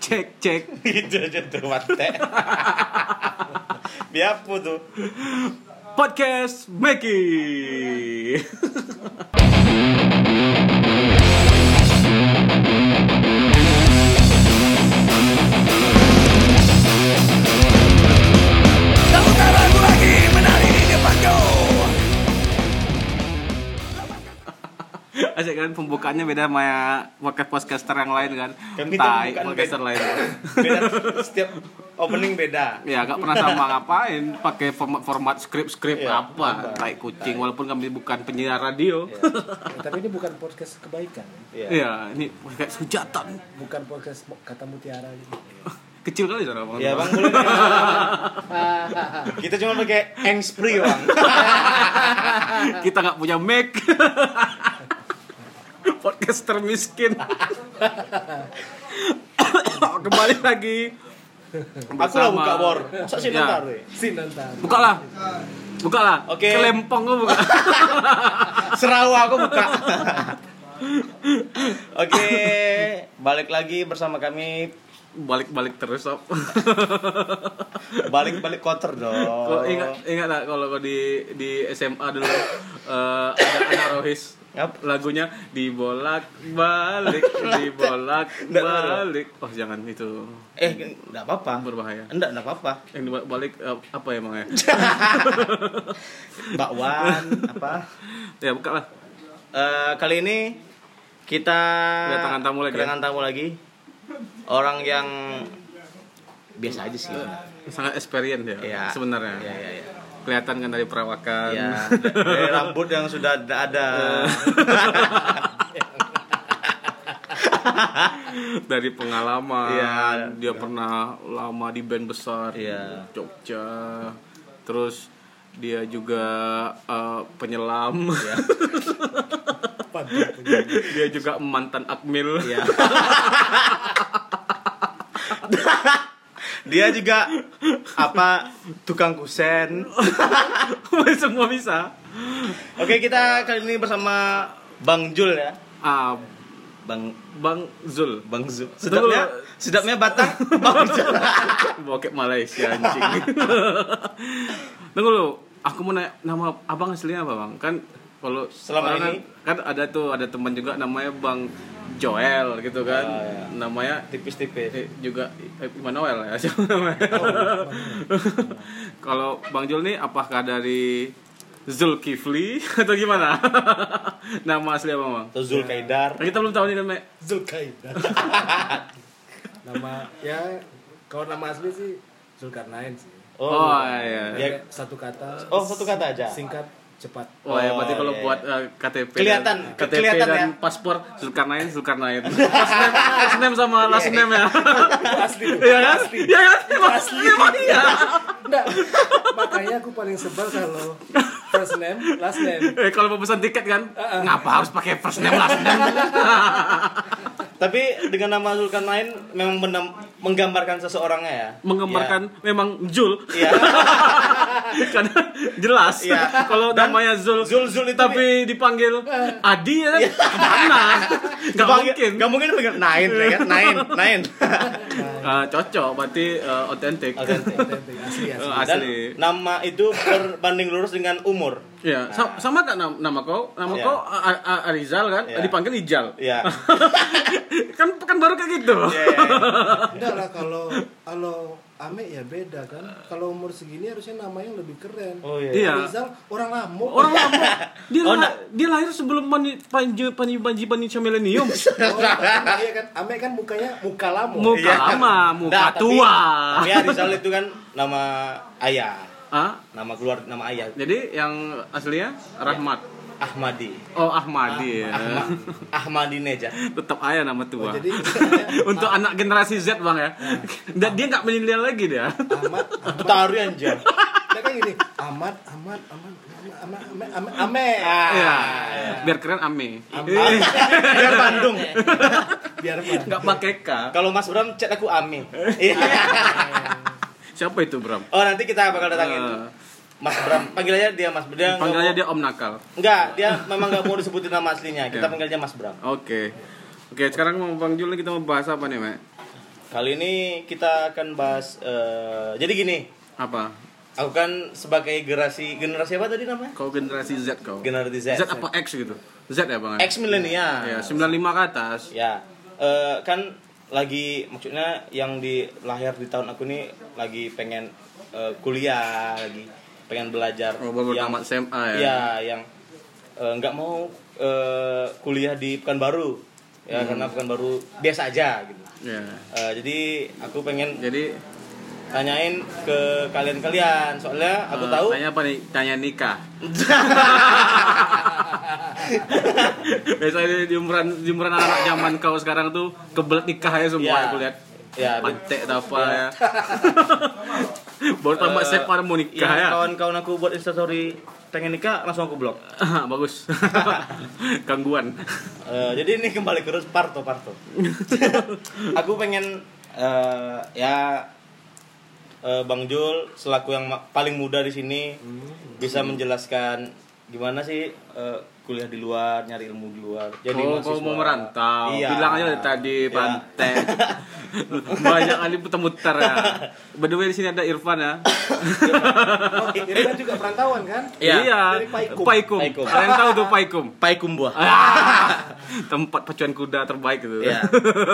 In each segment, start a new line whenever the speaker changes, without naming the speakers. cek cek
Cetumat teh. Biapu tuh.
podcast Meki. Asik kan pembukaannya beda sama podcast podcaster yang lain kan.
Kan kita
Tai
bukan
podcaster
beda.
lain.
Beda setiap opening beda. Iya.
Ya gak pernah sama ngapain pakai format format skrip skrip
Iya,
apa tai kucing walaupun kami bukan penyiar radio.
Ya, tapi ini bukan podcast kebaikan,
Iya.
Iya, ini kayak sujatan.
bukan podcast kata mutiara gitu.
Kecil kali suara Bang.
Ya bang, boleh deh. kita cuma pakai engspray bang.
Kita nggak punya mic. Podcast termiskin. Kembali lagi.
Aku lah buka bor. Masa sih
Ya.
nonton deh.
Sinantar.
Bukalah. Bukalah.
Oke.
Kelempong lu buka.
Serawa aku buka. Oke, balik lagi bersama kami
Balik-balik terus. Sob.
balik-balik kotor
Kok
dong.
ingat ingat nggak kalau kau di di SMA dulu eh, ada ada Rohis
Yap.
lagunya dibolak balik dibolak
Nggak tahu.
balik oh jangan itu
Eh, enggak apa-apa.
berbahaya
Enggak, enggak apa-apa.
yang dibalik eh, apa emang ya
Bakwan apa?
ya buka lah
Eh, kali ini kita
Kedatangan tamu lagi, ya?
kedatangan tamu lagi. orang yang biasa aja sih
sangat experience ya
Iya.
sebenarnya
Iya, iya, iya.
kelihatan kan dari perawakan
Iya, dari rambut yang sudah ada, ada.
dari pengalaman
Iya.
dia pernah lama di band besar
Iya.
Jogja terus dia juga eh, penyelam
Iya.
dia juga mantan akmil
Iya. Dia juga apa tukang kusen.
semua bisa
Oke, kita kali ini bersama Bang Jul ya.
ah
Bang
bang Zul
Bang Zul.
Tunggu dulu.
Sedapnya sedapnya batang Bang Zul.
bokep Malaysia anjing tunggu lu aku mau nanya nama abang aslinya apa bang kan kalau
Selama
orang
ini-
kan, kan ada tuh ada teman juga namanya bang Joel gitu kan
Ah, iya. Oh,
namanya
Tipis-tipis.
eh, juga eh, Immanuel ya
iya,
siapa namanya kalau bang Joel nih apakah dari Zulkifli atau gimana nama asli apa bang
Atau Zulkaidar.
kita belum tahu nih namanya
Zulkaida. nama ya kalau nama asli sih Zulkarnain sih.
oh, iya
Tapi
Ya.
kayak satu kata.
Oh, satu kata aja.
Singkat, cepat.
Wah, ya berarti
Oh,
kalau
iya,
buat eh, KTP
Kelihatan,
dan, KTP
kelihatan
dan
ya.
paspor Zulkarnain Zulkarnain. First name, first name sama
Iya.
last name ya.
Asli.
Iya kan? Iya kan? Asli. Iya.
Enggak. Makanya aku paling sebel kalau first name, last name.
Eh, kalau mau pesan tiket kan,
Uh-uh.
ngapa harus pakai first name last name?
Iya. Tapi dengan nama Zulkarnain memang benar- menggambarkan seseorangnya ya.
Menggambarkan memang Jul
Iya.
karena jelas.
Iya.
Kalau
Dan
namanya Zul,
Zul- Zul itu Uh. Iya.
tapi dipanggil Adi ya kan? Kemana? Gak mungkin.
Gak mungkin panggil Nain, ya kan? Nain, Nain.
Eh, cocok, berarti eh, otentik.
Otentik.
Authentic, Asli, ya.
Eh,
asli.
iya. Dan
Asli.
nama itu berbanding lurus dengan umur.
Iya, sa- sama kan nam- nama kau? Nama
Nah. Iya.
kau A- A- A- Arizal kan?
Iya.
Dipanggil Ijal.
Iya.
kan kan baru kayak gitu.
Iya, iya, iya.
Enggak lah kalau kalau Ame ya beda kan. Kalau umur segini harusnya namanya lebih keren.
Oh iya.
Iya.
Rizal orang lama.
Orang lama. Dia
Oh,
la-
nah.
dia lahir sebelum mani panji panji panji panji milenium.
Nah,
Oh, kan, iya kan, Ame kan mukanya muka lama.
Muka
Iya.
lama, muka
Nah, tapi-
tua.
Tapi ya Rizal itu kan nama ayah.
Ah,
Nama keluar nama ayah
jadi yang aslinya Rahmat.
Ahmadi.
Oh Ahmadi ya.
Iya. Ah, Ahmad Oh, Ahmadi Neja.
Tetap ayah nama tua.
jadi misalnya
Untuk anak generasi Z bang
Nah.
ya. Dan dia nggak menilai lagi dia.
Ah,
Ahmad,
Tari anjir.
dia kan gini, Ahmad, Ahmad, Ahmad, Ahmad, Ahmad, Ahmad, Ame.
Iya.
Ah.
Biar keren Ame.
Ame. Biar Bandung.
Biar apa?
Nggak pakai K.
Kalau Mas Bram chat aku Ami. Iya.
Siapa itu Bram?
Oh nanti kita bakal datangin
Eh.
Mas Bram, panggil aja dia Mas Bram.
Panggil aja dia Om Nakal.
Enggak, dia memang nggak mau disebutin nama aslinya. Kita
Iya.
panggil aja Mas Bram.
Oke. Oke, sekarang mau Bang Jul nih kita mau bahas apa nih, Mek?
Kali ini kita akan bahas eh, jadi gini,
Apa?
aku kan sebagai generasi generasi apa tadi namanya?
Kau generasi Z kau?
Generasi Z.
Z apa X gitu? Z ya bang?
Ex milenial.
Ya, 95 ke atas.
Ya, eh, kan lagi maksudnya yang di lahir di tahun aku nih lagi pengen eh, kuliah lagi pengen belajar
Oh, baru
yang
tamat SMA ya?
Iya, yang eh, nggak mau eh, kuliah di Pekanbaru ya
Hmm.
karena Pekanbaru biasa aja gitu.
Ya.
Eh, jadi aku pengen
Jadi
tanyain ke kalian-kalian soalnya aku
eh,
tahu
Tanya apa nih? Tanya nikah. Biasanya di umuran di umuran anak zaman kau sekarang tuh kebelet nikah ya semua
Ya.
aku lihat.
Ya,
Pantek atau apa ya. Baru tambah
Eh,
set pada mau nikah
yang
ya.
kawan-kawan aku buat instastory pengen nikah langsung aku blok.
Bagus. Gangguan.
Eh, jadi ini kembali ke Rus Parto Parto. aku pengen eh, ya eh, Bang Jul selaku yang ma- paling muda di sini bisa menjelaskan gimana sih eh, kuliah di luar, nyari ilmu di luar. Jadi
oh, kau
mahasiswa.
mau merantau.
Iya.
Bilang aja dari tadi
Iya.
pantai. Banyak kali muter-muter ya. By the way di sini ada Irfan ya.
Oh, Irfan juga perantauan kan?
Iya.
Iya.
Dari Paikum.
Paikum.
Paikum.
Kalian tahu tuh Paikum?
Paikum buah.
Tempat pacuan kuda terbaik gitu.
Iya.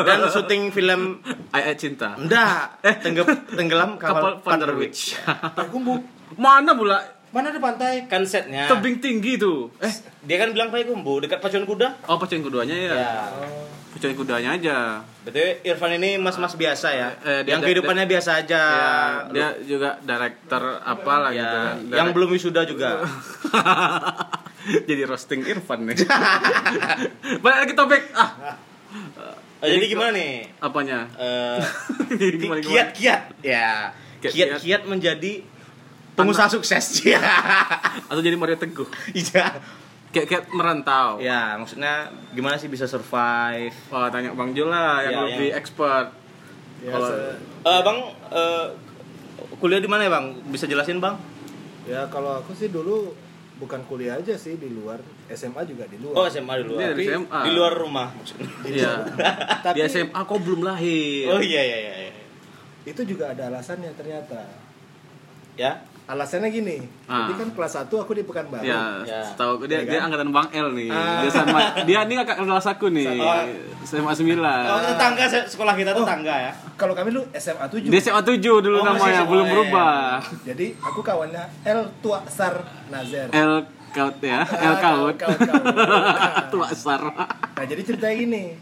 Dan syuting film
Ayat cinta.
Nda tenggep- tenggelam
Kapal
kapal,
Thunder
Thunder Witch.
Witch.
Pakumbu.
Mana pula
Mana ada pantai?
Kan setnya.
tebing tinggi tuh? Eh,
Dia kan bilang Paikum Bu dekat pacuan kuda.
oh pacuan kudanya ya.
Ya.
Pacuan kudanya aja.
Betul, Irfan ini mas-mas biasa ya.
Eh, dia-
yang
dia-
kehidupannya biasa aja. Iya,
Ya, dia juga director apalah
Ya,
gitu. kan.
yang
Direk-
belum wisuda juga.
jadi roasting Irfan nih. Balik lagi topik. Ah,
Eh, jadi gimana nih?
apanya?
Eh,
Jadi gimana, gimana?
kiat-kiat ya.
Kiat-kiat.
Kiat-kiat menjadi pengusaha sukses. Ya.
Atau jadi Mario Teguh.
Iya.
Kayak kayak merantau.
ya, maksudnya gimana sih bisa survive?
Wah, tanya Bang Jo lah yang
Ya,
lebih
yang-
expert.
Ya,
Kalau-
se-
Eh, bang eh, kuliah di mana ya, Bang? Bisa jelasin, Bang?
ya kalau aku sih dulu bukan kuliah aja sih di luar, SMA juga di
Oh,
luar.
SMA di
Dia
luar.
dari
Tapi
SMA.
Di luar rumah maksudnya.
Iya.
Tapi
Di SMA kok belum lahir.
Oh iya iya iya. iya.
itu juga ada alasannya ternyata.
Ya.
Alasannya gini,
Ah.
jadi kan kelas 1 aku di Pekanbaru.
Ya,
Ya.
tahu dia
Ya kan?
dia angkatan Bang L nih.
Ah.
Dia sama dia nih kakak kelas aku nih.
Sama.
SMA
Oh,
9.
tetangga se- sekolah kita
Oh.
tetangga ya.
Kalau kami dulu SMA 7.
Dia SMA 7 dulu
Oh, masih
namanya,
SMA,
belum
ya.
berubah.
Jadi aku kawannya L Tua Sar Nazer.
L kaut ya, Eh, L
Ah,
kaut.
kaut, kaut, kaut.
Tua sar.
Nah jadi cerita gini,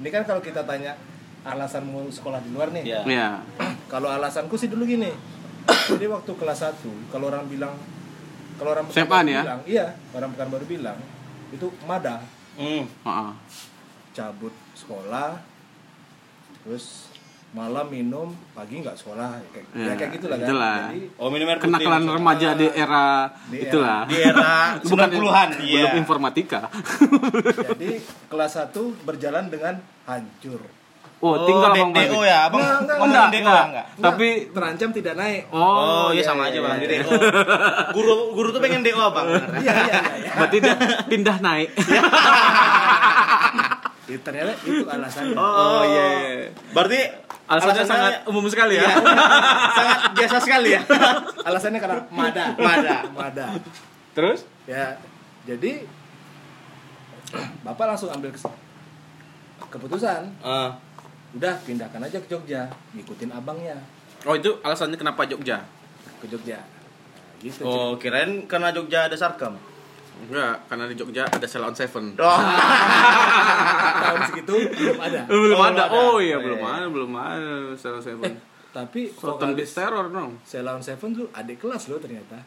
ini kan kalau kita tanya alasan mau sekolah di luar nih.
Iya.
Iya.
Kalau alasanku sih dulu gini, jadi waktu kelas 1 kalau orang bilang kalau orang
SMA
Pekanbaru
nih ya?
bilang, iya orang bukan baru bilang itu mada
Hmm.
Heeh.
cabut sekolah terus malam minum pagi nggak sekolah kayak, ya,
Ya,
kayak gitulah kan
itulah.
jadi
Oh minum air putih.
kenakalan
maksudnya.
remaja di era
Di era-
itulah
Di era 90-an. Iya.
belum informatika
jadi kelas 1 berjalan dengan hancur
oh, tinggal Oh,
D-
bang
DO
Bali.
ya, abang.
Nggak, nggak,
Ngomongin
nggak,
DO
nggak.
enggak?
Tapi-
Nggak, terancam tidak naik
Oh,
oh,
iya
iya,
sama aja
iya,
bang.
iya.
Di DO. Guru guru tuh pengen DO abang.
iya iya iya, iya.
berarti dia pindah naik
Ya, ternyata itu alasannya
oh iya iya.
Berarti
alasannya sangat umum sekali ya
iya, sangat biasa sekali ya.
alasannya karena mada
Mada.
mada
terus
ya jadi bapak langsung ambil kes- keputusan
Eh,
Ah.
udah pindahkan aja ke Jogja ngikutin abangnya
oh itu alasannya kenapa Jogja
ke Jogja Nah, gitu
oh kirain karena Jogja ada sarkam.
enggak karena di Jogja ada Cell on Seven
Oh,
tahun segitu belum ada
belum
Oh,
ada
belum ada.
oh iya
Oh,
belum
iya.
ada belum ada Cell on Seven
tapi
Proton Beat
vokalis
Terror dong
Ceylon Seven tuh adik kelas loh ternyata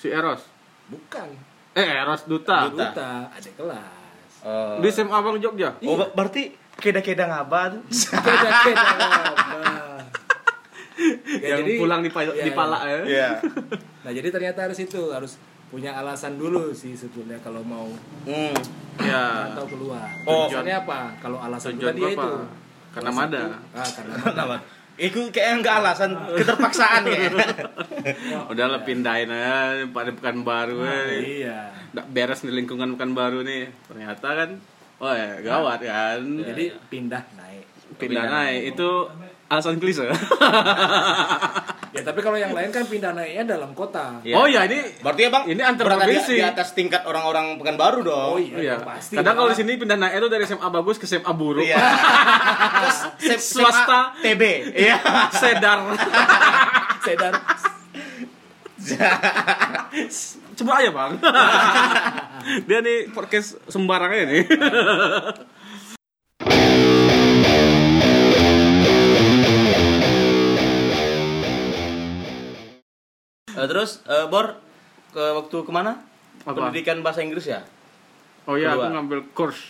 si Eros
bukan
eh Eros Duta
Duta.
Duta adik kelas
Eh,
di SMA Bang Jogja
oh ba- berarti keda-keda ngabar.
beda beda Ya,
yang pulang di pala di pala ya
Iya.
nah jadi ternyata harus itu harus punya alasan dulu sih sebetulnya kalau mau
Hmm.
Iya.
atau keluar
Oh.
tujuannya apa kalau alasan
tujuan
tujuan
gua
dia
apa
itu
karena
Alasan
mada
itu- ah karena mada
Kenapa? Itu kayaknya enggak alasan, keterpaksaan kayaknya.
Udah lah pindahin eh, aja pada pekan baru ya.
iya
Nggak beres di lingkungan pekan baru nih. Ternyata kan oh ya, gawat kan.
jadi pindah naik
pindah naik itu alasan klise
Ya tapi kalau yang lain kan pindah naiknya dalam kota.
Iya.
oh ya ini
Berarti ya bang,
Ini antar
berada di,
provinsi.
di atas tingkat orang-orang Pekanbaru dong.
Oh,
Iya.
iya. pasti.
Kadang kalau di sini pindah naik itu dari SMA bagus ke SMA buruk.
Iya. Terus sep- sema-
Swasta.
TB. Iya.
Sedar.
Sedar.
Coba aja, Bang. Dia nih podcast sembarangnya nih.
Eh, terus eh, Bor ke waktu kemana?
Apa?
Pendidikan bahasa Inggris ya?
Oh iya, aku
Kedua.
ngambil course.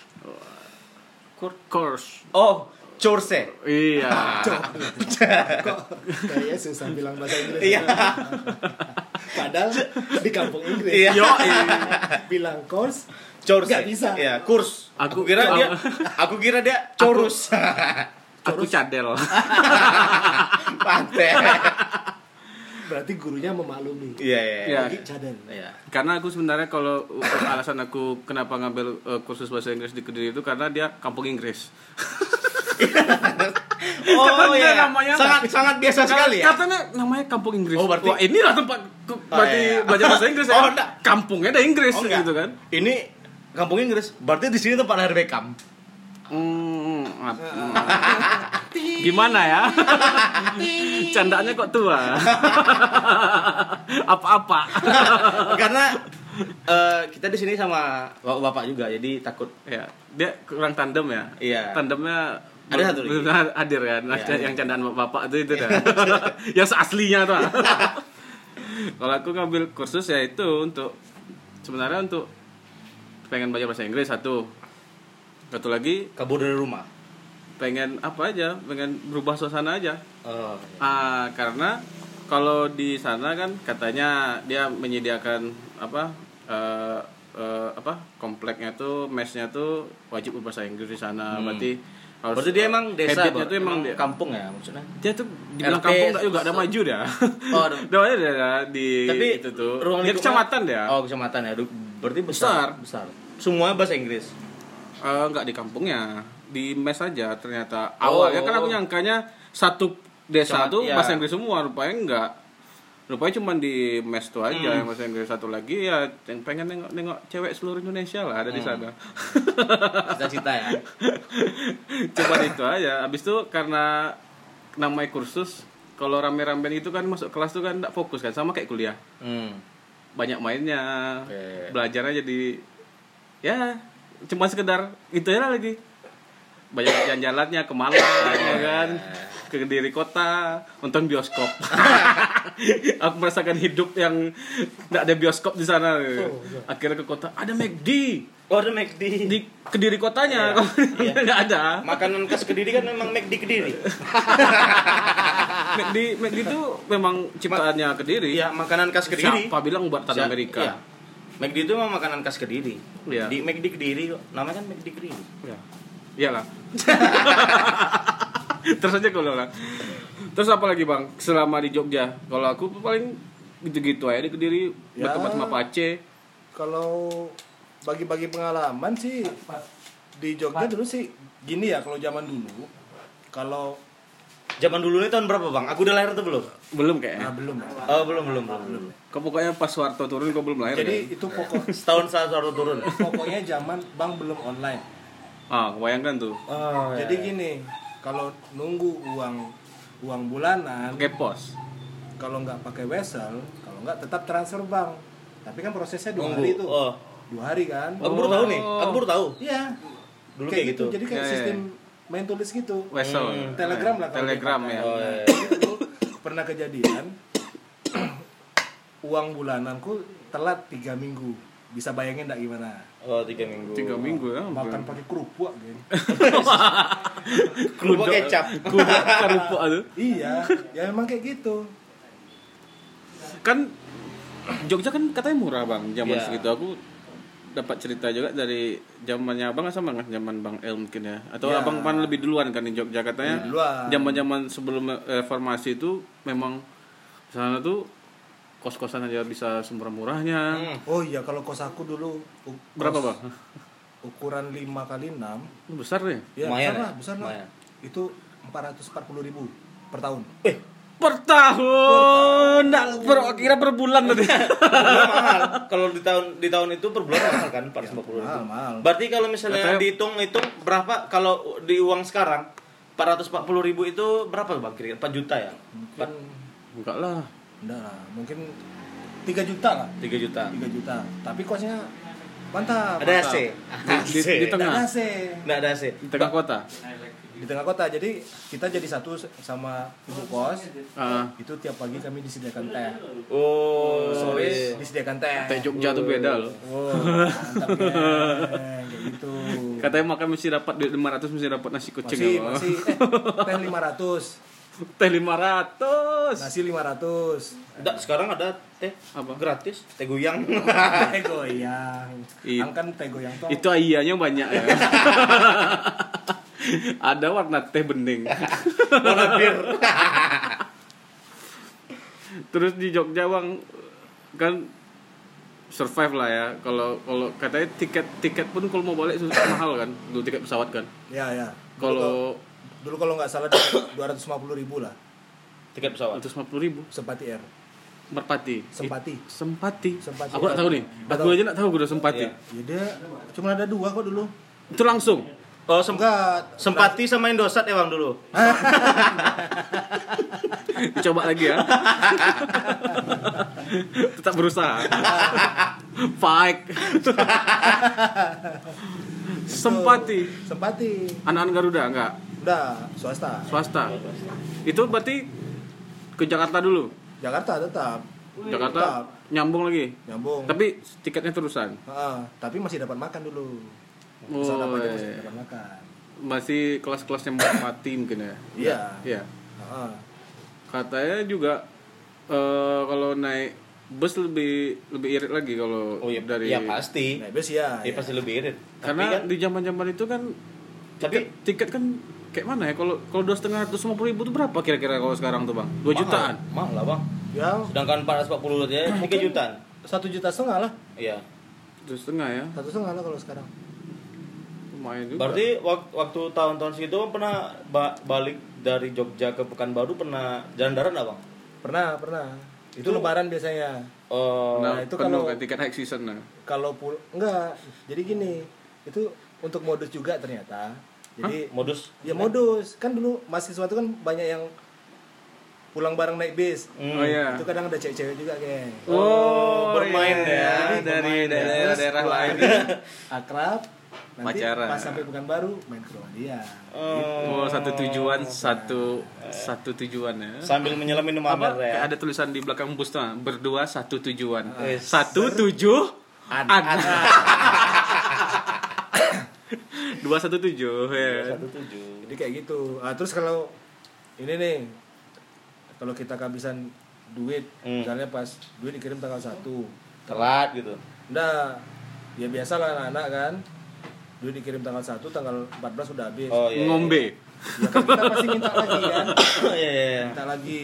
Kur-
Course.
Oh, course.
Iya.
Kayaknya susah bilang bahasa Inggris.
Iya.
Padahal di kampung Inggris.
Iya.
Yo, iya.
Bilang course.
Course.
Nggak bisa.
Iya, kurs.
Aku-
Aku, kira
aku-
dia aku kira dia chorus.
aku cadel.
Pantai.
Berarti gurunya memaklumi.
Iya, iya.
Iya.
Lagi cadel.
Iya.
Karena aku sebenarnya kalau uh, alasan aku kenapa ngambil uh, kursus bahasa Inggris di Kediri itu karena dia kampung Inggris.
Oh,
dia
iya.
Kan namanya- kan?
sangat sangat biasa sekali ya.
Katanya namanya kampung Inggris.
Oh, berarti-
Wah, inilah tempat ku- berarti
iya, iya.
belajar bahasa Inggris ya.
Oh,
kan?
enggak.
Kampungnya ada Inggris
Oh, enggak.
gitu kan.
Ini kampung Inggris. Berarti di sini tempat lahir Beckham.
Hmm, ap- gimana ya? Candanya kok tua. Apa-apa.
Karena eh, kita di sini sama bap- bapak juga, jadi takut.
ya, dia kurang tandem ya.
Iya.
Tandemnya
Ada satu lagi.
belum hadir kan. Nah,
Iya.
yang candaan bapak itu itu dah. yang seaslinya tuh. Kalau aku ngambil kursus ya itu untuk sebenarnya untuk pengen belajar bahasa Inggris satu. Satu lagi
Kabur dari rumah.
pengen apa aja, pengen berubah suasana aja.
Oh,
Ah, karena kalau di sana kan katanya dia menyediakan apa eh, eh, apa kompleknya tuh mesnya tuh wajib berbahasa Inggris di sana. Berarti harus
Hmm.
eh,
Berarti dia emang desa,
habitnya
Bor?
tuh emang, dia,
kampung ya maksudnya.
dia tuh dibilang
RT,
kampung nggak juga ada
so-
maju dah.
Oh, ada-
Namanya dia ada di
Tapi
itu tuh.
ruang
dia
lingkupnya-
kecamatan dia.
Oh, kecamatan ya. Du- Berarti besar, besar. Semuanya bahasa Inggris.
Eh, nggak di kampungnya, di mes aja ternyata.
Oh.
Awalnya kan aku nyangkanya satu desa
Cuma-
tuh
iya.
bahasa Inggris semua, rupanya enggak. Rupanya cuma di mes tuh aja
Hmm.
yang bahasa Inggris satu lagi ya yang pengen nengok-nengok cewek seluruh Indonesia lah ada di
Hmm.
sana.
Cita-cita ya.
cuma itu aja. Habis itu karena namanya kursus kalau rame-ramean itu kan masuk kelas tuh kan enggak fokus kan sama kayak kuliah.
Hmm.
Banyak mainnya.
Oke.
Belajarnya jadi ya cuma sekedar itu ya lagi banyak jalan-jalannya ke
Iya.
Malang ya kan ke diri kota nonton bioskop aku merasakan hidup yang tidak ada bioskop di sana
iya.
akhirnya ke kota ada McD
Oh, ada McD.
di kediri kotanya
Iya.
Iya. nggak ada
Makanan khas Kediri kan memang McD Kediri.
McD McD itu memang ciptaannya kediri
Ah, Iya, makanan khas Kediri.
siapa bilang buatan
Siap-
Amerika
Iya. McD itu memang makanan khas Kediri.
Iya.
Di McD Kediri kok. Namanya kan McD Kediri.
Ya. Iyalah. Terus aja kalau lah. Terus apa lagi Bang? Selama di Jogja, kalau aku paling gitu-gitu aja di Kediri,
Ya.
berteman sama Pace.
Kalau bagi-bagi pengalaman sih di Jogja dulu sih gini ya kalau zaman dulu kalau
Zaman dulu ini tahun berapa, Bang? Aku udah lahir atau belum?
Belum
nah
kayaknya.
belum ya.
Oh, belum, belum, belum. belum.
Kau pokoknya pas Soeharto turun kau belum lahir.
Jadi itu pokok
Setahun saat suara turun.
pokoknya zaman bank belum online.
kan? Ah, kebayangkan tuh.
Jadi gini, kalau nunggu uang uang bulanan,
Pakai pos.
kalau nggak pakai wesel, kalau nggak tetap transfer bank. Tapi kan prosesnya dua hari
Nunggu.
itu,
Oh.
dua hari kan?
Aku baru tahu nih.
Oh.
Aku baru tahu.
Iya.
Dulu kayak gitu. iya.
Jadi
Ya,
kayak
ya,
sistem main tulis gitu.
Wesel.
Hmm,
Telegram lah kalau
Telegram
dipakai.
ya.
Oh, iya.
Dulu pernah kejadian uang bulananku telat tiga minggu. Bisa bayangin nggak gimana?
Oh, tiga minggu.
Tiga minggu ya.
Makan pakai kerupuk, geng.
Kerupuk kecap.
Kuda kerupuk tuh.
iya, ya memang kayak gitu.
kan Jogja kan katanya murah bang zaman
Iya.
segitu aku dapat cerita juga dari zamannya abang kan sama nggak zaman bang El mungkin ya atau
Iya.
abang pan lebih duluan kan di Jogja katanya
Lebih duluan.
zaman zaman sebelum eh, reformasi itu memang di sana tuh kos kosan aja bisa semurah murahnya
Oh iya, kalau kos aku dulu u-
berapa
kos
bang
Ukuran 5 kali 6
Ini besar ya
Ya
Lumayan
besar
ya?
lah, besar lah
Lumayan.
Itu 440 ribu per tahun.
per tahun Nggak, per kira per bulan tadi
Belum mahal. Kalau di tahun di tahun itu per bulan mahal
Iya,
kan 450 ribu.
mahal, mahal.
Berarti kalau misalnya
Katanya-
dihitung-hitung berapa kalau di uang sekarang 440 ribu itu berapa bang kira 4 juta ya? 4,
enggak lah
Enggak lah, mungkin 3 juta lah.
3 juta.
3 juta. Tapi kosnya mantap.
Ada AC.
di, di, di
Nggak ada
tengah
AC.
Enggak ada AC.
di tengah kota
Di tengah kota. Jadi kita jadi satu sama ibu kos.
Ah,
Itu tiap pagi kami disediakan teh.
Oh,
Sore
iya.
sorry.
disediakan teh.
teh Jogja tuh beda loh
Wow, mantap geng. Kayak gitu.
katanya makan mesti dapat duit 500 mesti dapat nasi kucing
Masih,
ya, Bang.
masih eh, teh 500,
teh 500
nasi 500.
Da, sekarang ada teh
Apa?
gratis, teh goyang.
teh goyang
It-
angkan teh goyang tuh
itu ayahnya banyak ya ada warna teh bening
Warna bir.
terus di Jogja bang kan survive lah ya kalau kalau katanya tiket tiket pun kalau mau balik susah mahal kan dulu tiket pesawat kan
ya ya Dulu
kalau
dulu kalau nggak salah dua ratus ribu lah
Tiket pesawat.
150 ribu
sempati air
merpati
sempati
sempati,
Sempati.
aku nggak tahu nih
Nggak
aku
tahu.
aja nggak tahu gue udah sempati
Iya.
ya dia cuma ada dua kok dulu
itu langsung
Oh, sem-
enggak
sempati sama Indosat ya Bang dulu.
coba lagi ya tetap berusaha fight sempati
sempati
anak-anak Garuda enggak
udah swasta
swasta itu berarti ke Jakarta dulu
Jakarta tetap
Jakarta nyambung lagi
nyambung
tapi tiketnya terusan
Ah, tapi masih dapat makan dulu
Oh,
Pesawat apa aja
iya.
masih dapat makan
masih kelas-kelasnya merpati mungkin ya
iya
iya
Ah,
katanya juga eh, kalau naik bus lebih lebih irit lagi kalau
Oh iya,
dari Nah, iya.
ya pasti.
naik bus ya,
Ya
ya.
pasti lebih irit.
karena
Tapi kan
di zaman zaman itu kan tiket,
Tapi-
tiket kan kayak mana ya kalau kalau dua setengah ratus lima puluh ribu itu berapa kira-kira kalau sekarang tuh bang dua jutaan
Mahal lah bang.
ya
Sedangkan 440 aja 3 jutaan.
satu juta setengah lah
Iya.
dua setengah ya
satu setengah lah kalau sekarang
lumayan juga
Berarti wak- waktu tahun-tahun segitu Bang, pernah ba- balik dari Jogja ke Pekanbaru pernah jalan darat nggak bang?
pernah pernah itu lebaran biasanya
Oh,
nah,
nah, itu
penuh
kalau-
kan tiket high season nah
kalau pul enggak jadi gini itu untuk modus juga ternyata jadi
modus.
ya modus kan dulu mahasiswa itu kan banyak yang pulang bareng naik bis
oh iya
Hmm, itu kan- kadang ada cewek-cewek juga geng
Oh, bermain ya.
dari dari
Bermain, ya.
daerah, daerah
Terus
lain
keluar, akrab nanti
Pacaran.
pas sampai bukan baru main ke rumah dia
oh satu tujuan satu satu tujuan ya
Sambil menyelam minum
apa
amar
kayak
ya.
ada tulisan di belakang bus tuh berdua satu tujuan
Eh,
satu tujuh
An-
an dua satu tujuh ya
Satu tujuh.
jadi kayak gitu ah, terus kalau ini nih kalau kita kehabisan duit
Hmm.
misalnya pas duit dikirim tanggal 1
Telat gitu.
Nah, ya biasa lah anak-anak kan. Duit dikirim tanggal 1, tanggal 14 sudah habis.
Oh iya.
ngombe
Ya kan kita pasti minta lagi kan.
Iya, iya, iya.
Minta lagi.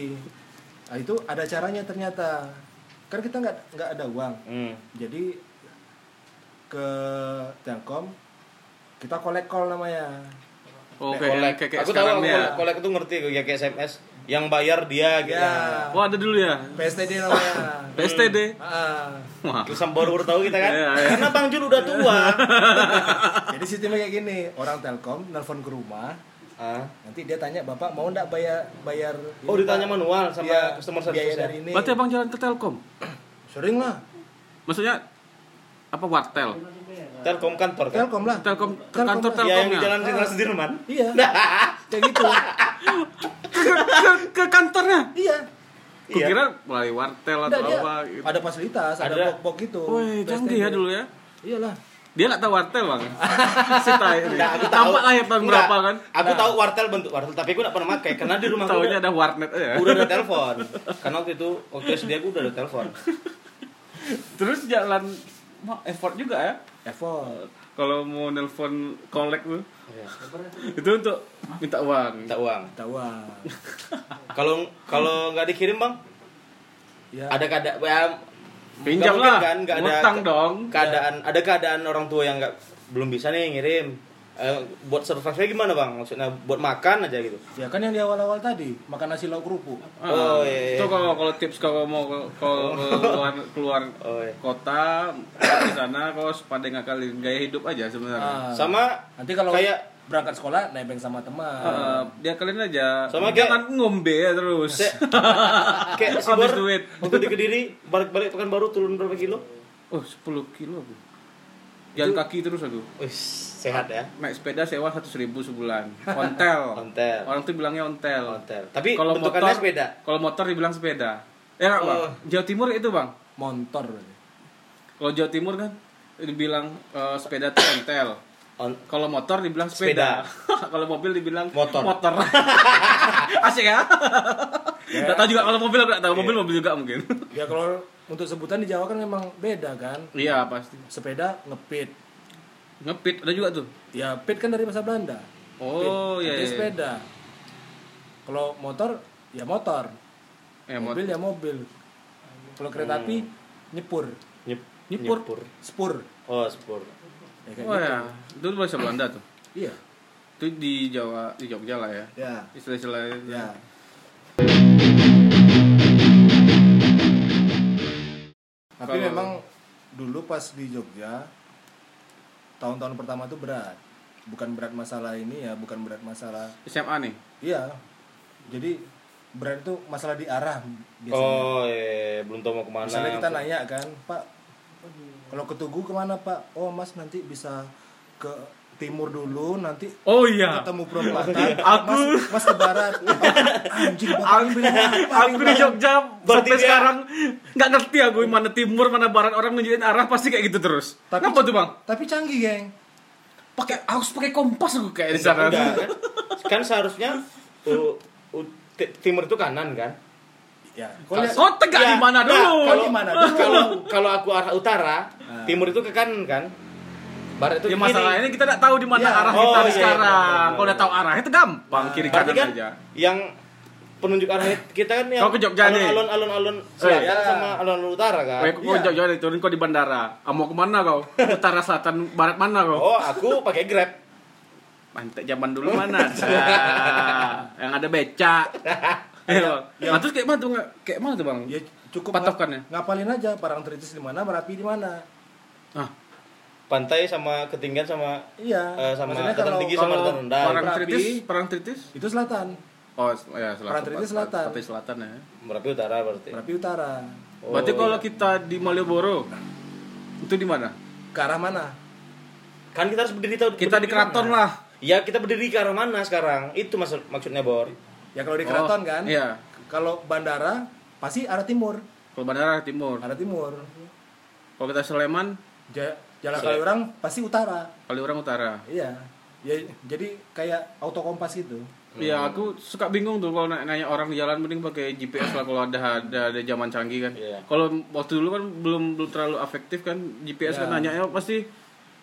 Nah, itu ada caranya ternyata. Kan kita nggak nggak ada uang.
Hmm.
Jadi ke Telkom kita collect call namanya.
oke Oh, kayak,
Kolek.
kayak
Aku tahu
sekarang
aku
ya
kolek, kolek itu ngerti kayak kayak SMS yang bayar dia gitu.
Ya.
oh ada dulu ya
PSTD namanya.
PSTD
Ah,
wah
Kita baru baru tahu kita kan.
Iya, iya.
Karena Bang Jul udah tua.
jadi sistemnya kayak gini, orang Telkom nelpon ke rumah,
Ah.
nanti dia tanya, "Bapak mau nggak bayar bayar ini,
Oh, ditanya
Pak?"
manual sama
Iya,
customer
biaya
service. ya?
dari ini.
berarti abang jalan ke Telkom
Sering lah.
maksudnya apa wartel
Iya.
eh,
Telkom kantor kan?
Telkom lah.
Telkom ke
Telkom
kantor
Ya,
lah.
yang di
Telkomnya
Jalan Jenderal Sudirman.
Iya.
Nah.
Kayak gitu.
ke, ke kantornya
iya.
Iya.
kukira melalui wartel atau
Nggak, dia
apa gitu
ada fasilitas, ada,
Ada.
box-box gitu.
Wih, canggih ya dulu ya
Iyalah.
Dia nggak tahu wartel bang. si tai ini.
Nggak, Nah, aku tahu.
Tampak lah ya tahun
Nggak,
berapa kan.
Aku tahu wartel bentuk wartel, tapi aku nggak pernah pakai karena di rumah aku
Tahunya
udah,
ada warnet aja.
udah ada telepon. Karena waktu itu waktu SD aku udah ada telepon.
Terus jalan wah, effort juga ya.
Effort.
Kalau mau nelpon kolek tuh. Itu untuk minta uang.
Iya. Minta uang.
Tawang.
Kalau kalau nggak dikirim bang,
Ya.
ada keadaan ya, nggak
Pinjam
mungkin
lah.
kan, nggak ada
Ngutang dong.
keadaan ada keadaan orang tua yang nggak belum bisa nih ngirim. Eh, buat survive gimana bang? Maksudnya buat makan aja gitu.
Ya kan yang di awal-awal tadi, makan nasi lauk kerupuk.
Oh, iya, Oh. iya.
Itu kalau kalau tips kalau mau ke- kalau keluar keluar
Oh, iya.
kota di sana kalau pada ngakalin gaya hidup aja sebenarnya.
Ah,
Sama
nanti kalau
kayak-
berangkat sekolah nebeng sama teman.
Eh, dia kalian aja
Sama kayak-
jangan ngombe ya terus.
Se- kayak si
Habis
Bor,
duit.
waktu di Kediri balik-balik pekan baru turun berapa kilo?
Oh, 10 kilo. Bu. Jalan kaki terus aduh.
Wih, sehat ya.
Naik sepeda sewa 100.000 sebulan. Ontel.
Ontel.
Orang tuh bilangnya ontel.
Hotel. Tapi
Kalau
bentukannya
motor
sepeda.
Kalau motor dibilang sepeda. Eh, enggak, Bang.
Oh.
Jawa Timur itu, Bang.
Montor. berarti.
Kalau Jawa Timur kan dibilang eh, sepeda tuh ontel.
On-
Kalau motor dibilang sepeda. kalau mobil dibilang
Motor.
Asik ya?
Ya.
Enggak tahu juga kalau mobil enggak
Iya.
tahu mobil mobil juga mungkin.
Ya kalau untuk sebutan di Jawa kan memang beda kan.
Iya, pasti.
Sepeda ngepit.
Ngepit ada juga tuh.
Ya pit kan dari bahasa Belanda. Pit.
Oh, iya.
Artinya
iya.
sepeda. Kalau motor ya motor.
Eh, mot- Oh.
mobil ya mobil. Kalau kereta api nyepur,
Nyep-
Nyepur.
spur.
Oh, spur.
Ya, kayak
Wah, ya.
gitu.
itu bahasa Belanda tuh.
Iya.
Itu di Jawa, di Jogja lah ya.
Ya.
Istilah-istilah.
Ya. Tapi
Kalau-
memang dulu pas di Jogja tahun-tahun pertama tuh berat. Bukan berat masalah ini ya, bukan berat masalah.
SMA nih.
Iya. Jadi berat itu masalah di arah biasanya.
Oh, iya, belum tahu mau
Oh,
kemana.
Misalnya kita nanya kan, Pak, kalau ke Tugu kemana Pak? Oh Mas nanti bisa ke timur dulu, nanti
Oh iya.
ketemu perempatan.
Aku-
Mas, mas ke barat. Anjing bapak ini bilang apa?
Aku di Jogja
Berarti
sampai
dia-
sekarang nggak ngerti aku mana timur mana barat orang nunjukin arah pasti kayak gitu terus.
Tapi-
Kenapa tuh bang?
Tapi canggih geng.
Pakai harus pakai kompas aku kayak di
Enggak,
sana.
enggak, kan? kan seharusnya u- u- ti- timur itu kanan kan?
Ya.
Kalau lihat-
Oh tegak di
Ya,
mana
nah,
dulu? Nah.
kalau
di mana dulu?
Kalau kalau aku arah utara, timur itu ke kanan kan? Barat itu
Ya
ke kiri.
masalahnya kita nggak tahu di mana
Iya.
arah kita
Oh, iya, iya,
sekarang.
benar,
Kalau udah tahu arahnya itu gampang kiri
Berarti
kanan
kan
aja.
yang penunjuk arah kita kan yang
Kau ke Jogja nih. Eh. Ya.
alun-alun alun-alun selatan
iya.
sama alun-alun utara kan.
Kau kau Jogja nih turun kau di bandara. Ah, mau kemana kau? Utara selatan barat mana kau?
Oh, aku pakai Grab.
Mantek zaman dulu mana? ada? yang ada becak. Eh, Bang. Nah, terus kayak mana tuh nggak- kayak mana tuh bang?
Ya cukup
Patokannya.
ngap- ngapalin aja parangtritis di mana, Merapi di mana.
Ah,
Pantai sama ketinggian sama
Iya.
eh, sama
Maksudnya
dataran
kalau
tinggi sama
kalau
dataran rendah. gitu.
perang
Merapi.
tritis, perang tritis?
itu selatan,
Oh, s- ya selatan.
Perang Tritis selatan.
Pantai selatan ya.
Merapi utara berarti.
Merapi utara.
Oh.
Berarti kalau kita di Malioboro itu di mana?
Ke arah mana?
Kan kita harus berdiri tahu.
Kita di
berdiri
keraton
mana.
lah.
Ya kita berdiri ke arah mana sekarang? Itu maksud maksudnya Bor.
Ya kalau di keraton
Oh,
kan.
Iya.
Kalau bandara pasti arah timur,
Kalau bandara timur.
arah timur.
Kalau kita Sleman,
Ja- Jalan kali orang pasti utara.
kali orang utara.
Iya. Ya, jadi kayak auto kompas gitu.
Iya, aku suka bingung tuh kalau na- nanya orang di jalan mending pakai GPS lah kalau ada ada ada zaman canggih kan.
Iya.
Kalau waktu dulu kan belum belum terlalu efektif kan GPS kan nanya pasti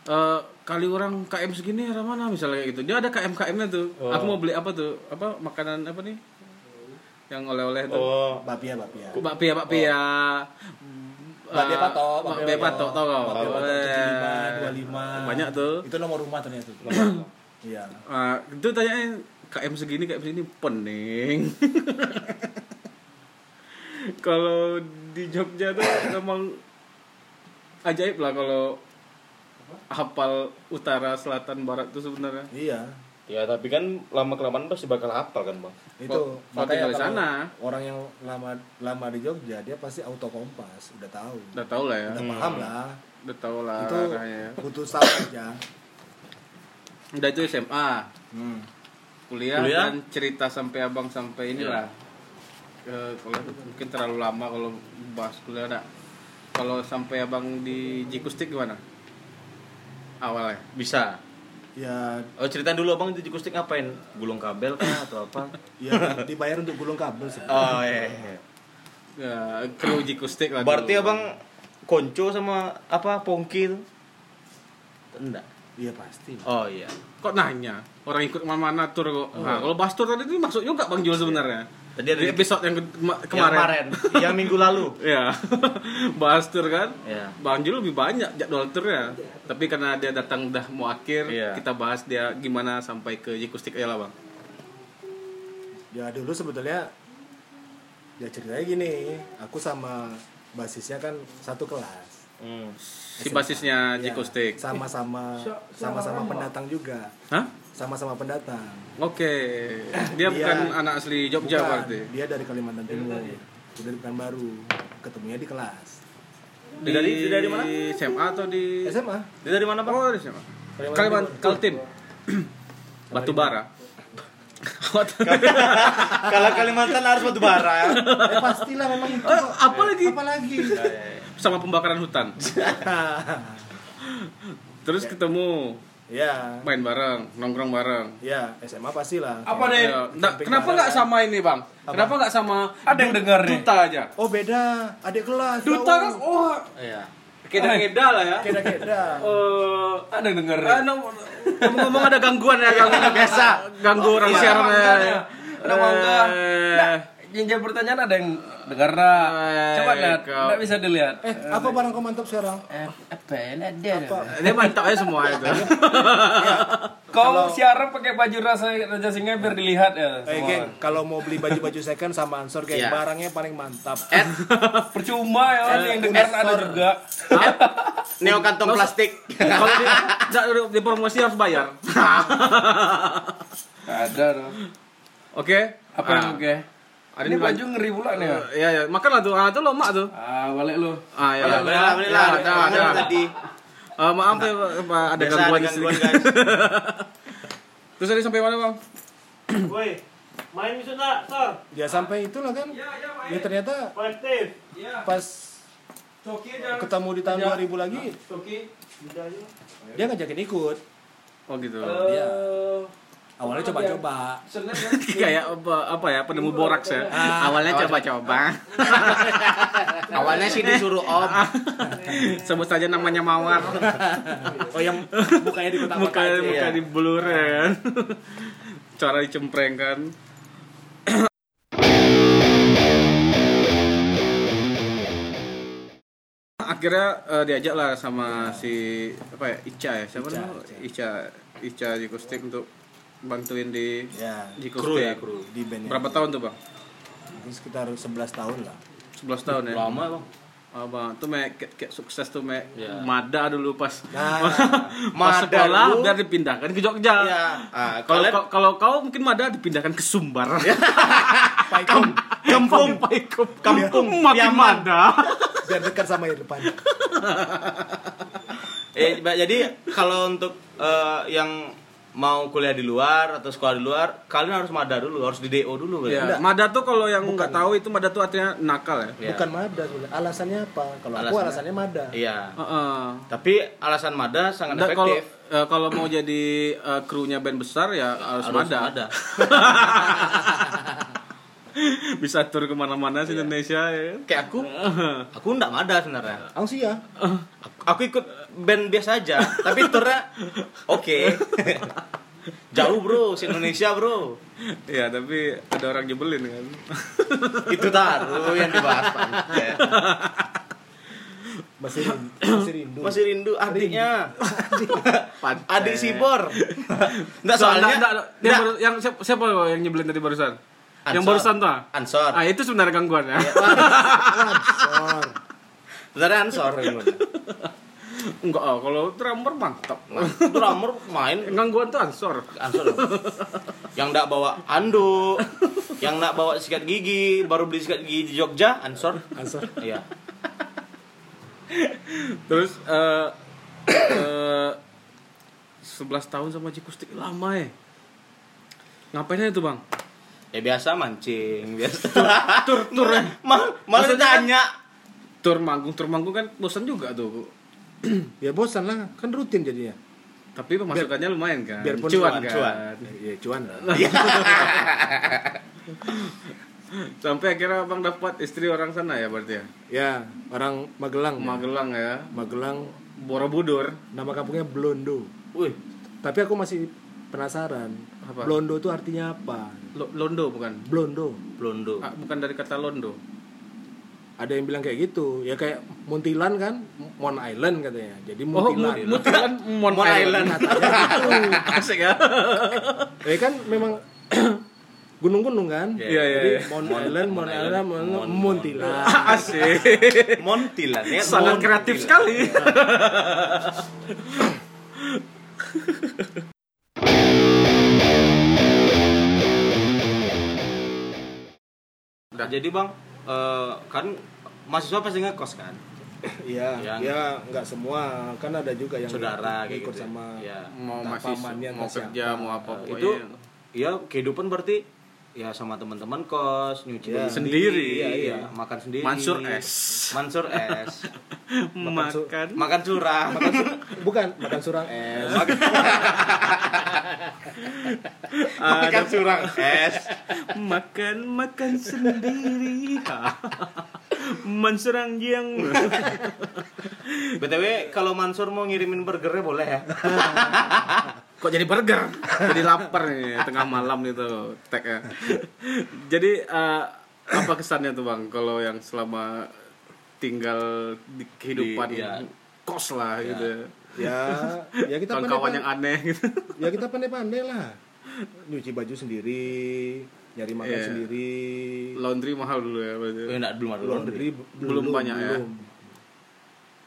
eh, kali orang KM segini arah mana misalnya kayak gitu. Dia ada KM KM-nya tuh. Aku mau beli apa tuh? Apa makanan apa nih? Yang oleh-oleh tuh.
Oh,
Bapia, bapia.
Bakpia, bakpia.
Bakpia patok,
Bakpia patok tau kau.
Bakpia patok
Eh,
75, 25.
Banyak tuh.
Itu nomor rumah ternyata tuh. Iya.
Ah, itu tanyain KM segini KM segini pening. kalau di Jogja tuh emang ajaib lah kalau hafal utara selatan barat tuh sebenarnya.
Iya.
ya tapi kan lama kelamaan pasti bakal hafal kan, Bang.
Itu
Kalau- kalau tinggal di
kalau
sana.
orang yang lama lama di Jogja dia pasti auto kompas, udah tahu.
Udah Ah, tau lah ya.
Udah paham lah.
Udah tau lah
Itu
arahnya.
butuh tahu aja.
Udah itu SMA,
Hmm.
kuliah, Iya.
Kuliah.
dan cerita sampai abang sampai inilah. Eh, kalau mungkin terlalu lama kalau bahas kuliah nak. Kalau sampai abang di Jikustik gimana? Awalnya.
Bisa.
Ya,
Oh, cerita dulu Bang di Jikustik ngapain? Gulung kabel kah atau apa?
ya dibayar untuk gulung kabel sih.
oh, iya. iya.
Ya, kru jikustik lah. dulu.
Berarti Abang konco sama apa pongki itu? Enggak.
Iya pasti.
Oh iya.
kok nanya? Orang ikut mana-mana tur kok. Nah, kalau bahas tur tadi itu masuk juga Bang Jul sebenarnya.
Tadi
Oh.
ada
Di episode yang ke- kema- kemarin.
yang minggu lalu.
Ya. Bahas tur kan?
Iya.
Bang Jul lebih banyak jadwal turnya. Tapi karena dia datang udah mau akhir,
Iya.
kita bahas dia gimana sampai ke Yikustik Ella, Bang.
Ya dulu sebetulnya ya ceritanya gini, aku sama basisnya kan satu kelas.
Hmm.
Si basisnya
Iya.
Ya,
Yikustik.
Sama-sama sama-sama pendatang juga.
Hah?
Sama-sama pendatang.
Oke. Dia
Iya.
Dia-
bukan anak asli Jogja
Bukan,
berarti.
Dia dari Kalimantan Timur. Udah bukan baru. Ketemunya di kelas.
Di,
Dari- dari mana?
SMA atau di
SMA.
Dia dari mana, Pak?
Oh, dari SMA. Kalimantan Kaltim. Batu bara.
Kalau Kalimantan harus batu bara.
Eh pastilah memang itu.
Eh, apa lagi?
Apa lagi?
Sama pembakaran hutan. Terus ketemu
ya.
main bareng, nongkrong bareng.
Ya, SMA pastilah.
Apa deh?
Ya, nah,
Camping
kenapa
bareng.
nggak sama ini bang? Kenapa nggak sama
Ada yang dengar nih.
duta aja?
Oh beda, adik kelas.
Duta kan, oh
Iya.
Eh.
keda-keda lah ya.
Keda keda.
Eh,
Ada yang denger.
ah, nom- ngomong-ngomong ada gangguan ya, gangguan biasa, ganggu orang siaran. ya.
Ada mangga.
Eh,
Nah, yang jadi pertanyaan ada yang dengar nak.
Eh,
Coba Nat,
kau.
nggak bisa dilihat.
Eh, apa barang kau mantap sekarang?
eh, Apa ya, ada?
Ini mantap ya semua itu.
Kau siaran pakai baju rasa Raja Singa biar dilihat ya.
Eh,
semua.
geng, kalau mau beli baju-baju second sama Ansor, geng,
Iya.
barangnya paling mantap.
Percuma ya, yang dengar ada juga.
Neo kantong plastik.
Kalau di, nggak, di promosi harus bayar.
Ada dong.
Oke.
Apa yang
Ah,
oke?
Ada
Ini
yang
baju ngeri pula nih ya.
Ya, ya, makanlah tuh. Ah, itu lo mak tuh.
Ah, balik lu.
Ah, ya.
Alhamdulillah, alhamdulillah.
Ya, dah,
Kangen
dah.
tadi.
Eh, maaf ya, Pak, Pak, ada
Biasa
gangguan
iya,
di
ada
sini.
gangguan, guys.
Terus tadi sampai mana, Bang?
Woi, main misu nak, Sor?
Ya sampai itulah kan.
Iya,
Ya ternyata
Kolektif.
pas
Coki
ketemu di tahun 2000 lagi,
Nah,
Coki.
dia ngajakin ikut.
Oh gitu.
Iya. Awalnya coba-coba.
Kayak apa, apa Iya, ya penemu boraks ya. Awalnya coba-coba.
Ah, Awalnya sih disuruh Om.
Sebut saja namanya Mawar.
Oh yang mukanya di kota
Muka muka
iya.
di blur ya kan. Cara dicempreng kan. Akhirnya eh, diajak lah sama si apa ya Ica ya siapa namanya Ica Ica Jikustik untuk bantuin di
Ya,
Jikustik.
Kru ya, kru.
di bandnya.
Berapa tahun tuh bang?
Mungkin sekitar 11 tahun lah.
11 tahun ya.
Lama, Bang.
Abang tuh mek kayak, kayak sukses tuh mek
Iya.
Mada dulu pas
Nah,
pas
Mada
sekolah
dulu.
biar dipindahkan ke Jogja.
Iya. Ah,
Kalau Iya.
kalian-
kau- kalau kau mungkin Mada dipindahkan ke Sumbar.
Paikom
Kampung Paikop.
Kampung
mati
Piaman.
Iya. Mada.
biar dekat sama yang depan.
Eh, ba- jadi kalau untuk eh, yang mau kuliah di luar atau sekolah di luar, kalian harus mada dulu, harus di DO dulu
Iya,
berarti.
Mada tuh kalau yang nggak tahu itu Mada tuh artinya nakal ya.
Iya.
Bukan Mada sebenarnya. Alasannya apa? Kalau aku
Alasannya-
alasannya Mada.
Iya.
Heeh.
Tapi alasan mada sangat
Nggak, kalau
efektif.
eh, kalau mau jadi eh, krunya band besar ya harus, Mada. Bisa tur kemana-mana sih Indonesia ya. kan?
Kayak aku, aku ndak mada sebenarnya.
Aku sih ya.
Aku- Aku ikut band biasa aja, tapi turnya oke. Jauh bro, si Indonesia bro.
Iya, tapi ada orang jebelin kan.
Itu taruh yang dibahas Pak. Ya.
Masih rindu. Masih rindu.
Masih rindu adiknya.
Pantes.
Adik Sibor. Enggak
Soalnya
soalnya
yang,
nggak.
baru- yang siapa, siapa yang nyebelin tadi barusan? Yang
Ansor.
barusan tuh. ah?
Ansor.
Ah, itu sebenarnya gangguan ya.
Sor.
Sebenarnya Ansor gimana?
Enggak, ah, kalau drummer mantap.
drummer main
Yang gangguan tuh ansor.
Ansor. Yang enggak bawa anduk, yang enggak bawa sikat gigi, baru beli sikat gigi di Jogja, Ansor.
Ansor.
Iya.
Terus eh eh, 11 tahun sama Jikustik lama ya. Ngapainnya itu, Bang?
Ya biasa mancing, biasa.
Tur tur ya.
Mal, malah
Maksudnya kan-
tanya.
Tur manggung, tur manggung kan bosan juga tuh.
Ya bosan lah, kan rutin jadinya.
Tapi pemasukannya lumayan kan.
biarpun
cuan,
cuan,
kan.
cuan.
Ya cuan lah.
Sampai akhirnya Bang dapat istri orang sana ya berarti ya.
Ya, orang Magelang.
Magelang ya.
Magelang
Borobudur.
nama kampungnya Blondo.
Wih,
Tapi aku masih penasaran.
Apa?
Blondo tuh artinya apa?
Lo- Londo bukan?
Blondo.
Blondo.
Ah, bukan dari kata Londo.
Ada yang bilang kayak gitu. Ya kayak Muntilan kan, Mon Island katanya. Jadi
Oh,
Muntilan.
Mut-
Kan,
Mutilan Mon
Mon
Island.
Island.
Asik ya.
ya kan memang gunung-gunung kan?
Iya,
iya,
Jadi
iya.
Mon
Mon-
Island, Mon
Mon
Island,
Island,
Mon
Mon-
Muntilan.
Asik.
Montilan ya.
Sangat
Montilan.
kreatif sekali.
Nah, jadi bang, eh, kan mahasiswa pasti ngekos kan,
Iya,
Yang-
ya nggak semua, kan ada juga yang
saudara kayak
ikut
gitu.
sama
Iya.
ya.
Mau
Entah
masih
pamannya,
mau
entah
kerja,
siapa.
mau iya. apa
Eh,
pokoknya.
itu ya kehidupan berarti ya sama teman-teman kos nyuci
Iya.
baju
Sendiri.
iya, iya. makan sendiri
Mansur S.
Mansur S
makan.
makan curah makan curah
Bukan, makan surang eh. es.
makan, makan curang es
Makan makan sendiri. Mansurang yang
btw kalau Mansur mau ngirimin burgernya boleh ya
kok jadi burger jadi lapar nih tengah malam itu tag ya jadi eh, apa kesannya tuh bang kalau yang selama tinggal di kehidupan
Di- iya.
kos lah gitu
Ya, ya kita
kawan-kawan yang
pandai-pandai.
aneh gitu
Ya kita pandai-pandai lah. Nyuci baju sendiri, nyari makan
Iya.
sendiri.
laundry mahal dulu ya berarti.
Eh, enggak, belum ada laundry.
Laundry b-
Belum banyak ya?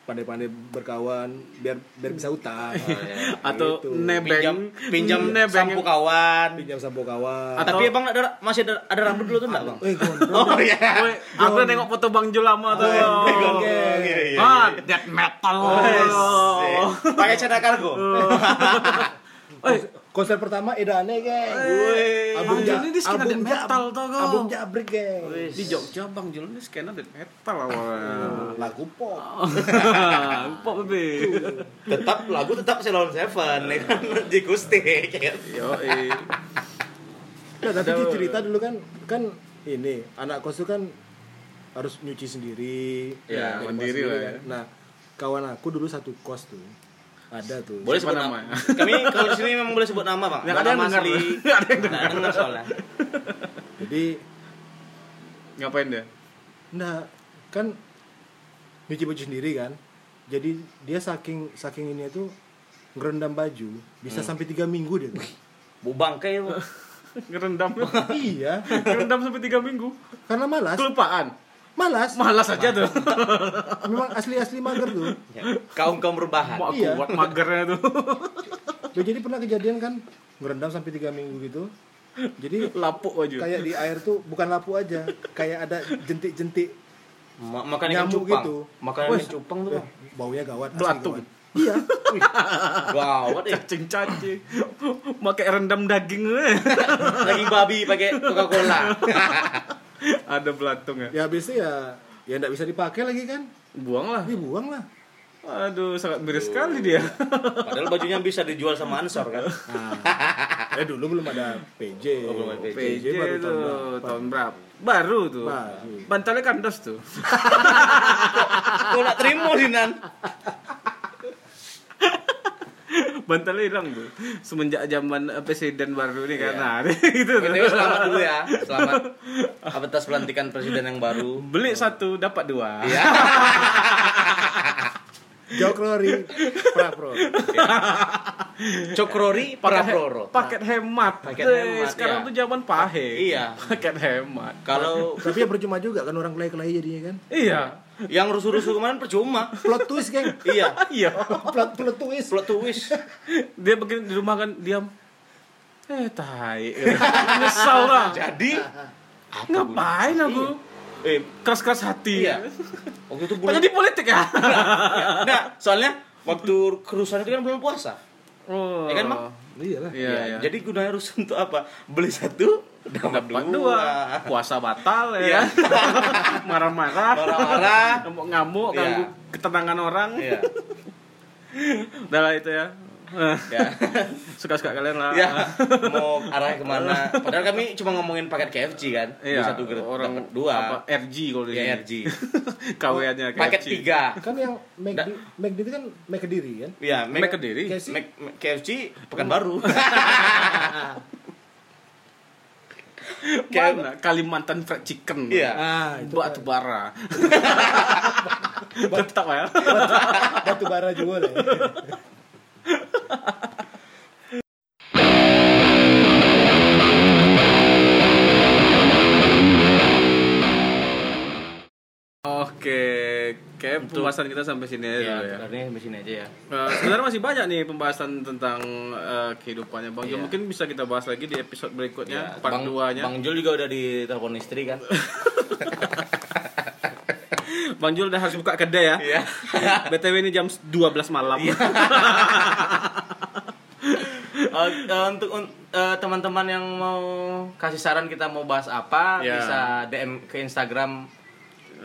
Pandai-pandai berkawan biar biar bisa
Oh,
utang.
iya.
atau
Gitu.
nebeng
pinjam pinjam
nebeng
sampo Iya, kawan
Pinjam sampo kawan.
Atau-
tapi abang nggak ada, masih ada, ada rambut dulu tuh enggak bang
Eh, gondrong.
oh iya
Woi, aku nengok foto Bang Jul lama tuh.
Gondrong, iya, iya, iya.
Ah, death metal.
Asik. pakai celana kargo
Woi,
Konser pertama Edane, geng.
Abang Jul ini skena
album
death metal tuh kok.
Album Jabrik, geng.
Di Jogja Bang Jul ini skena death metal awalnya.
Lagu pop.
Oh. Pok bebe.
tetap lagu tetap Ceylon Seven ya kan Jikustik ya kan?
Yo,
Nah, tapi di cerita dulu kan kan ini anak kos itu kan harus nyuci sendiri,
Ya,
nyari
mandiri
makan
lah
sendiri
ya.
Nah, kawan aku dulu satu kos tuh. Ada tuh.
boleh
Siapa
sebut nama
namanya?
kami kalau di sini memang boleh sebut nama bang
Nggak
Nggak
ada yang
nama
dengar,
asli
Bang.
nggak ada yang dengar soalnya
Jadi,
Ngapain dia?
nah kan nyuci baju sendiri kan. Jadi dia saking saking ini tuh ngerendam baju bisa
Hmm.
sampai tiga minggu dia tuh.
bu bangkai ya, Bang.
Ngerendam.
iya,
Ngerendam sampai 3 minggu.
karena malas.
Kelupaan.
Malas.
Malas aja tuh.
Memang asli-asli mager tuh.
Ya, kaum kaum berbahan
Mau
Iya.
kuat magernya tuh.
Loh, Nah, jadi pernah kejadian kan ngerendam sampai tiga minggu gitu. Jadi
Lapuk aja.
kayak di air tuh bukan lapu aja kayak ada jentik-jentik
Ma- makan ikan
Nyamuk
cupang
gitu.
makan
Wes.
ikan cupang tuh bang
baunya gawat asli
Eh, Belatung.
gawat. iya
gawat ya
Cacing-cacing. Pakai rendam daging. eh.
lagi babi pakai coca cola
Ada belatung ya.
ya biasanya ya ya nggak bisa dipakai lagi kan
Buanglah.
dibuang lah
Aduh, sangat miris sekali dia.
padahal bajunya bisa dijual sama ansor kan
eh dulu belum ada PJ
Oh, belum ada PJ.
PJ
baru tahun
tuh
berapa?
tahun berapa? Baru tuh.
Baru.
Bantalnya kandas tuh.
kau nak terima dinan
Bantalnya hilang tuh. Semenjak zaman eh, presiden baru nih kan.
Iya.
Nah, gitu tuh.
btw selamat dulu ya selamat atas pelantikan presiden yang baru
Beli satu dapat dua.
Iya.
jauh kalori prapro
Paket,
Cokrori Paraproro.
paket hemat.
Paket
Eh,
hemat,
Sekarang
iya.
tuh zaman pahe.
Iya.
Paket hemat.
Kalau
tapi ya percuma juga kan orang kelahi-kelahi jadinya kan
Iya.
yang rusuh-rusuh kemarin percuma.
plot twist geng
Iya.
Iya.
plot plot twist
Plot twist.
Dia begini di rumah kan diam. Eh, tai. Nyesal lah.
Jadi
Ngapain aku?
eh
Keras-keras hati.
iya. Waktu itu
Kok
bulan.
jadi politik ya?
Nah, soalnya waktu kerusuhan itu kan bulan puasa.
Oh.
Ya kan, Bang?
iya lah
Iya, iya.
Jadi gunanya rusuh untuk apa? Beli satu dapat,
dapat
dua.
dua. Puasa batal ya.
Iya.
Marah-marah.
Marah-marah.
Ngamuk-ngamuk
Iya.
ganggu ketenangan orang.
Iya.
Udah lah itu ya.
Ya.
Suka-suka kalian lah.
Ya, mau arahnya kemana? Padahal kami cuma ngomongin paket KFC kan, Beli
Iya,
satu orang
orang
dua,
apa RG kalau di sini.
ya RG,
KW-nya
paket tiga,
kan yang McD McD itu kan McD kan
ya
Make Kediri.
Kayak- KFC?
Mac- Mac- KFC pekan baru.
Kayak mana? Kalimantan fried chicken.
Iya.
Ah, itu
Batu bara. Tetap ya.
batu bara juga lah.
Oke, kayak pembahasan kita sampai sini aja
Iya,
dulu ya.
sebenarnya sampai sini aja ya.
Eh, sebenarnya masih banyak nih pembahasan tentang eh, kehidupannya Bang Jul.
Iya.
Mungkin bisa kita bahas lagi di episode berikutnya,
Ya,
part
Bang,
2-nya. Bang,
Bang Jul juga udah ditelepon istri kan.
Jul udah harus buka kedai ya.
Iya.
BTW ini jam 12 malam.
Eh, eh, untuk un- eh, teman-teman yang mau kasih saran kita mau bahas apa
Ya.
bisa DM ke Instagram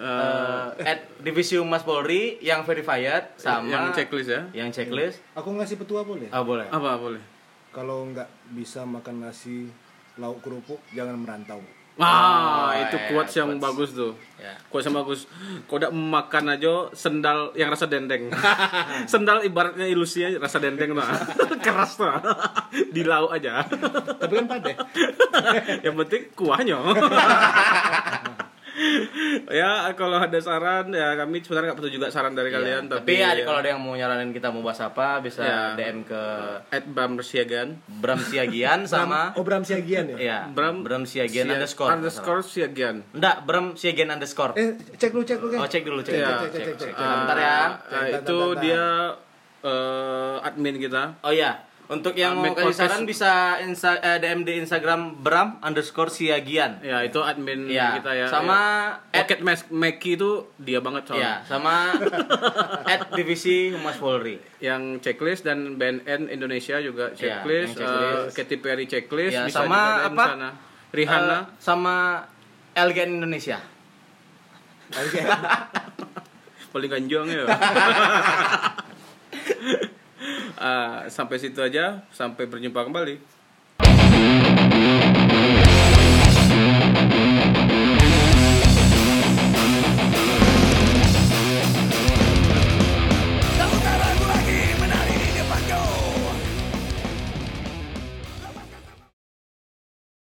Eh,
at divisi Humas Polri yang verified sama
yang checklist ya.
yang checklist
Aku ngasih petua boleh?
ah boleh
Apa boleh?
Kalau nggak bisa makan nasi lauk kerupuk, jangan merantau.
Wah,
Oh,
Ah, itu
iya,
quotes yang
quotes.
bagus tuh.
Ya.
Quotes yang bagus. Kau udah makan aja sendal yang rasa dendeng. sendal ibaratnya ilusinya rasa dendeng nah. Keras tuh. Di lauk aja.
Tapi kan pade.
yang penting kuahnya. ya kalau ada saran ya kami sebenarnya nggak perlu juga saran dari kalian
Iya.
tapi,
tapi, ya, kalau ada yang mau nyaranin kita mau bahas apa bisa
Ya.
DM ke
at Bram Siagan
Bram Siagian sama
Obram Siagian ya?
ya
Iya. Bram-
Bram Bram Siagian
Sia-
underscore
underscore Siagan
enggak Bram Siagian underscore
Eh, cek lu, cek lu kan.
oh cek dulu cek
Iya.
dulu
Cek,
cek, cek, cek.
Ah, bentar ya
Eh, eh, itu dia eh, admin kita
oh ya untuk
Ah,
yang mau
make podcast.
kasih saran bisa insta, eh, DM di Instagram Bram underscore Siagian
ya itu admin
ya
kita ya
sama
ya.
at
Pocket Mas Meki itu dia banget soalnya
ya sama at divisi Humas Polri
yang checklist dan BNN Indonesia juga
Iya,
checklist,
yang
eh,
checklist.
Katy Perry checklist
Ya,
bisa
sama
juga dari
apa?
sana. Rihanna
Eh, sama LGN Indonesia
paling ganjong ya. Eh, Ah, sampai situ aja, sampai berjumpa kembali.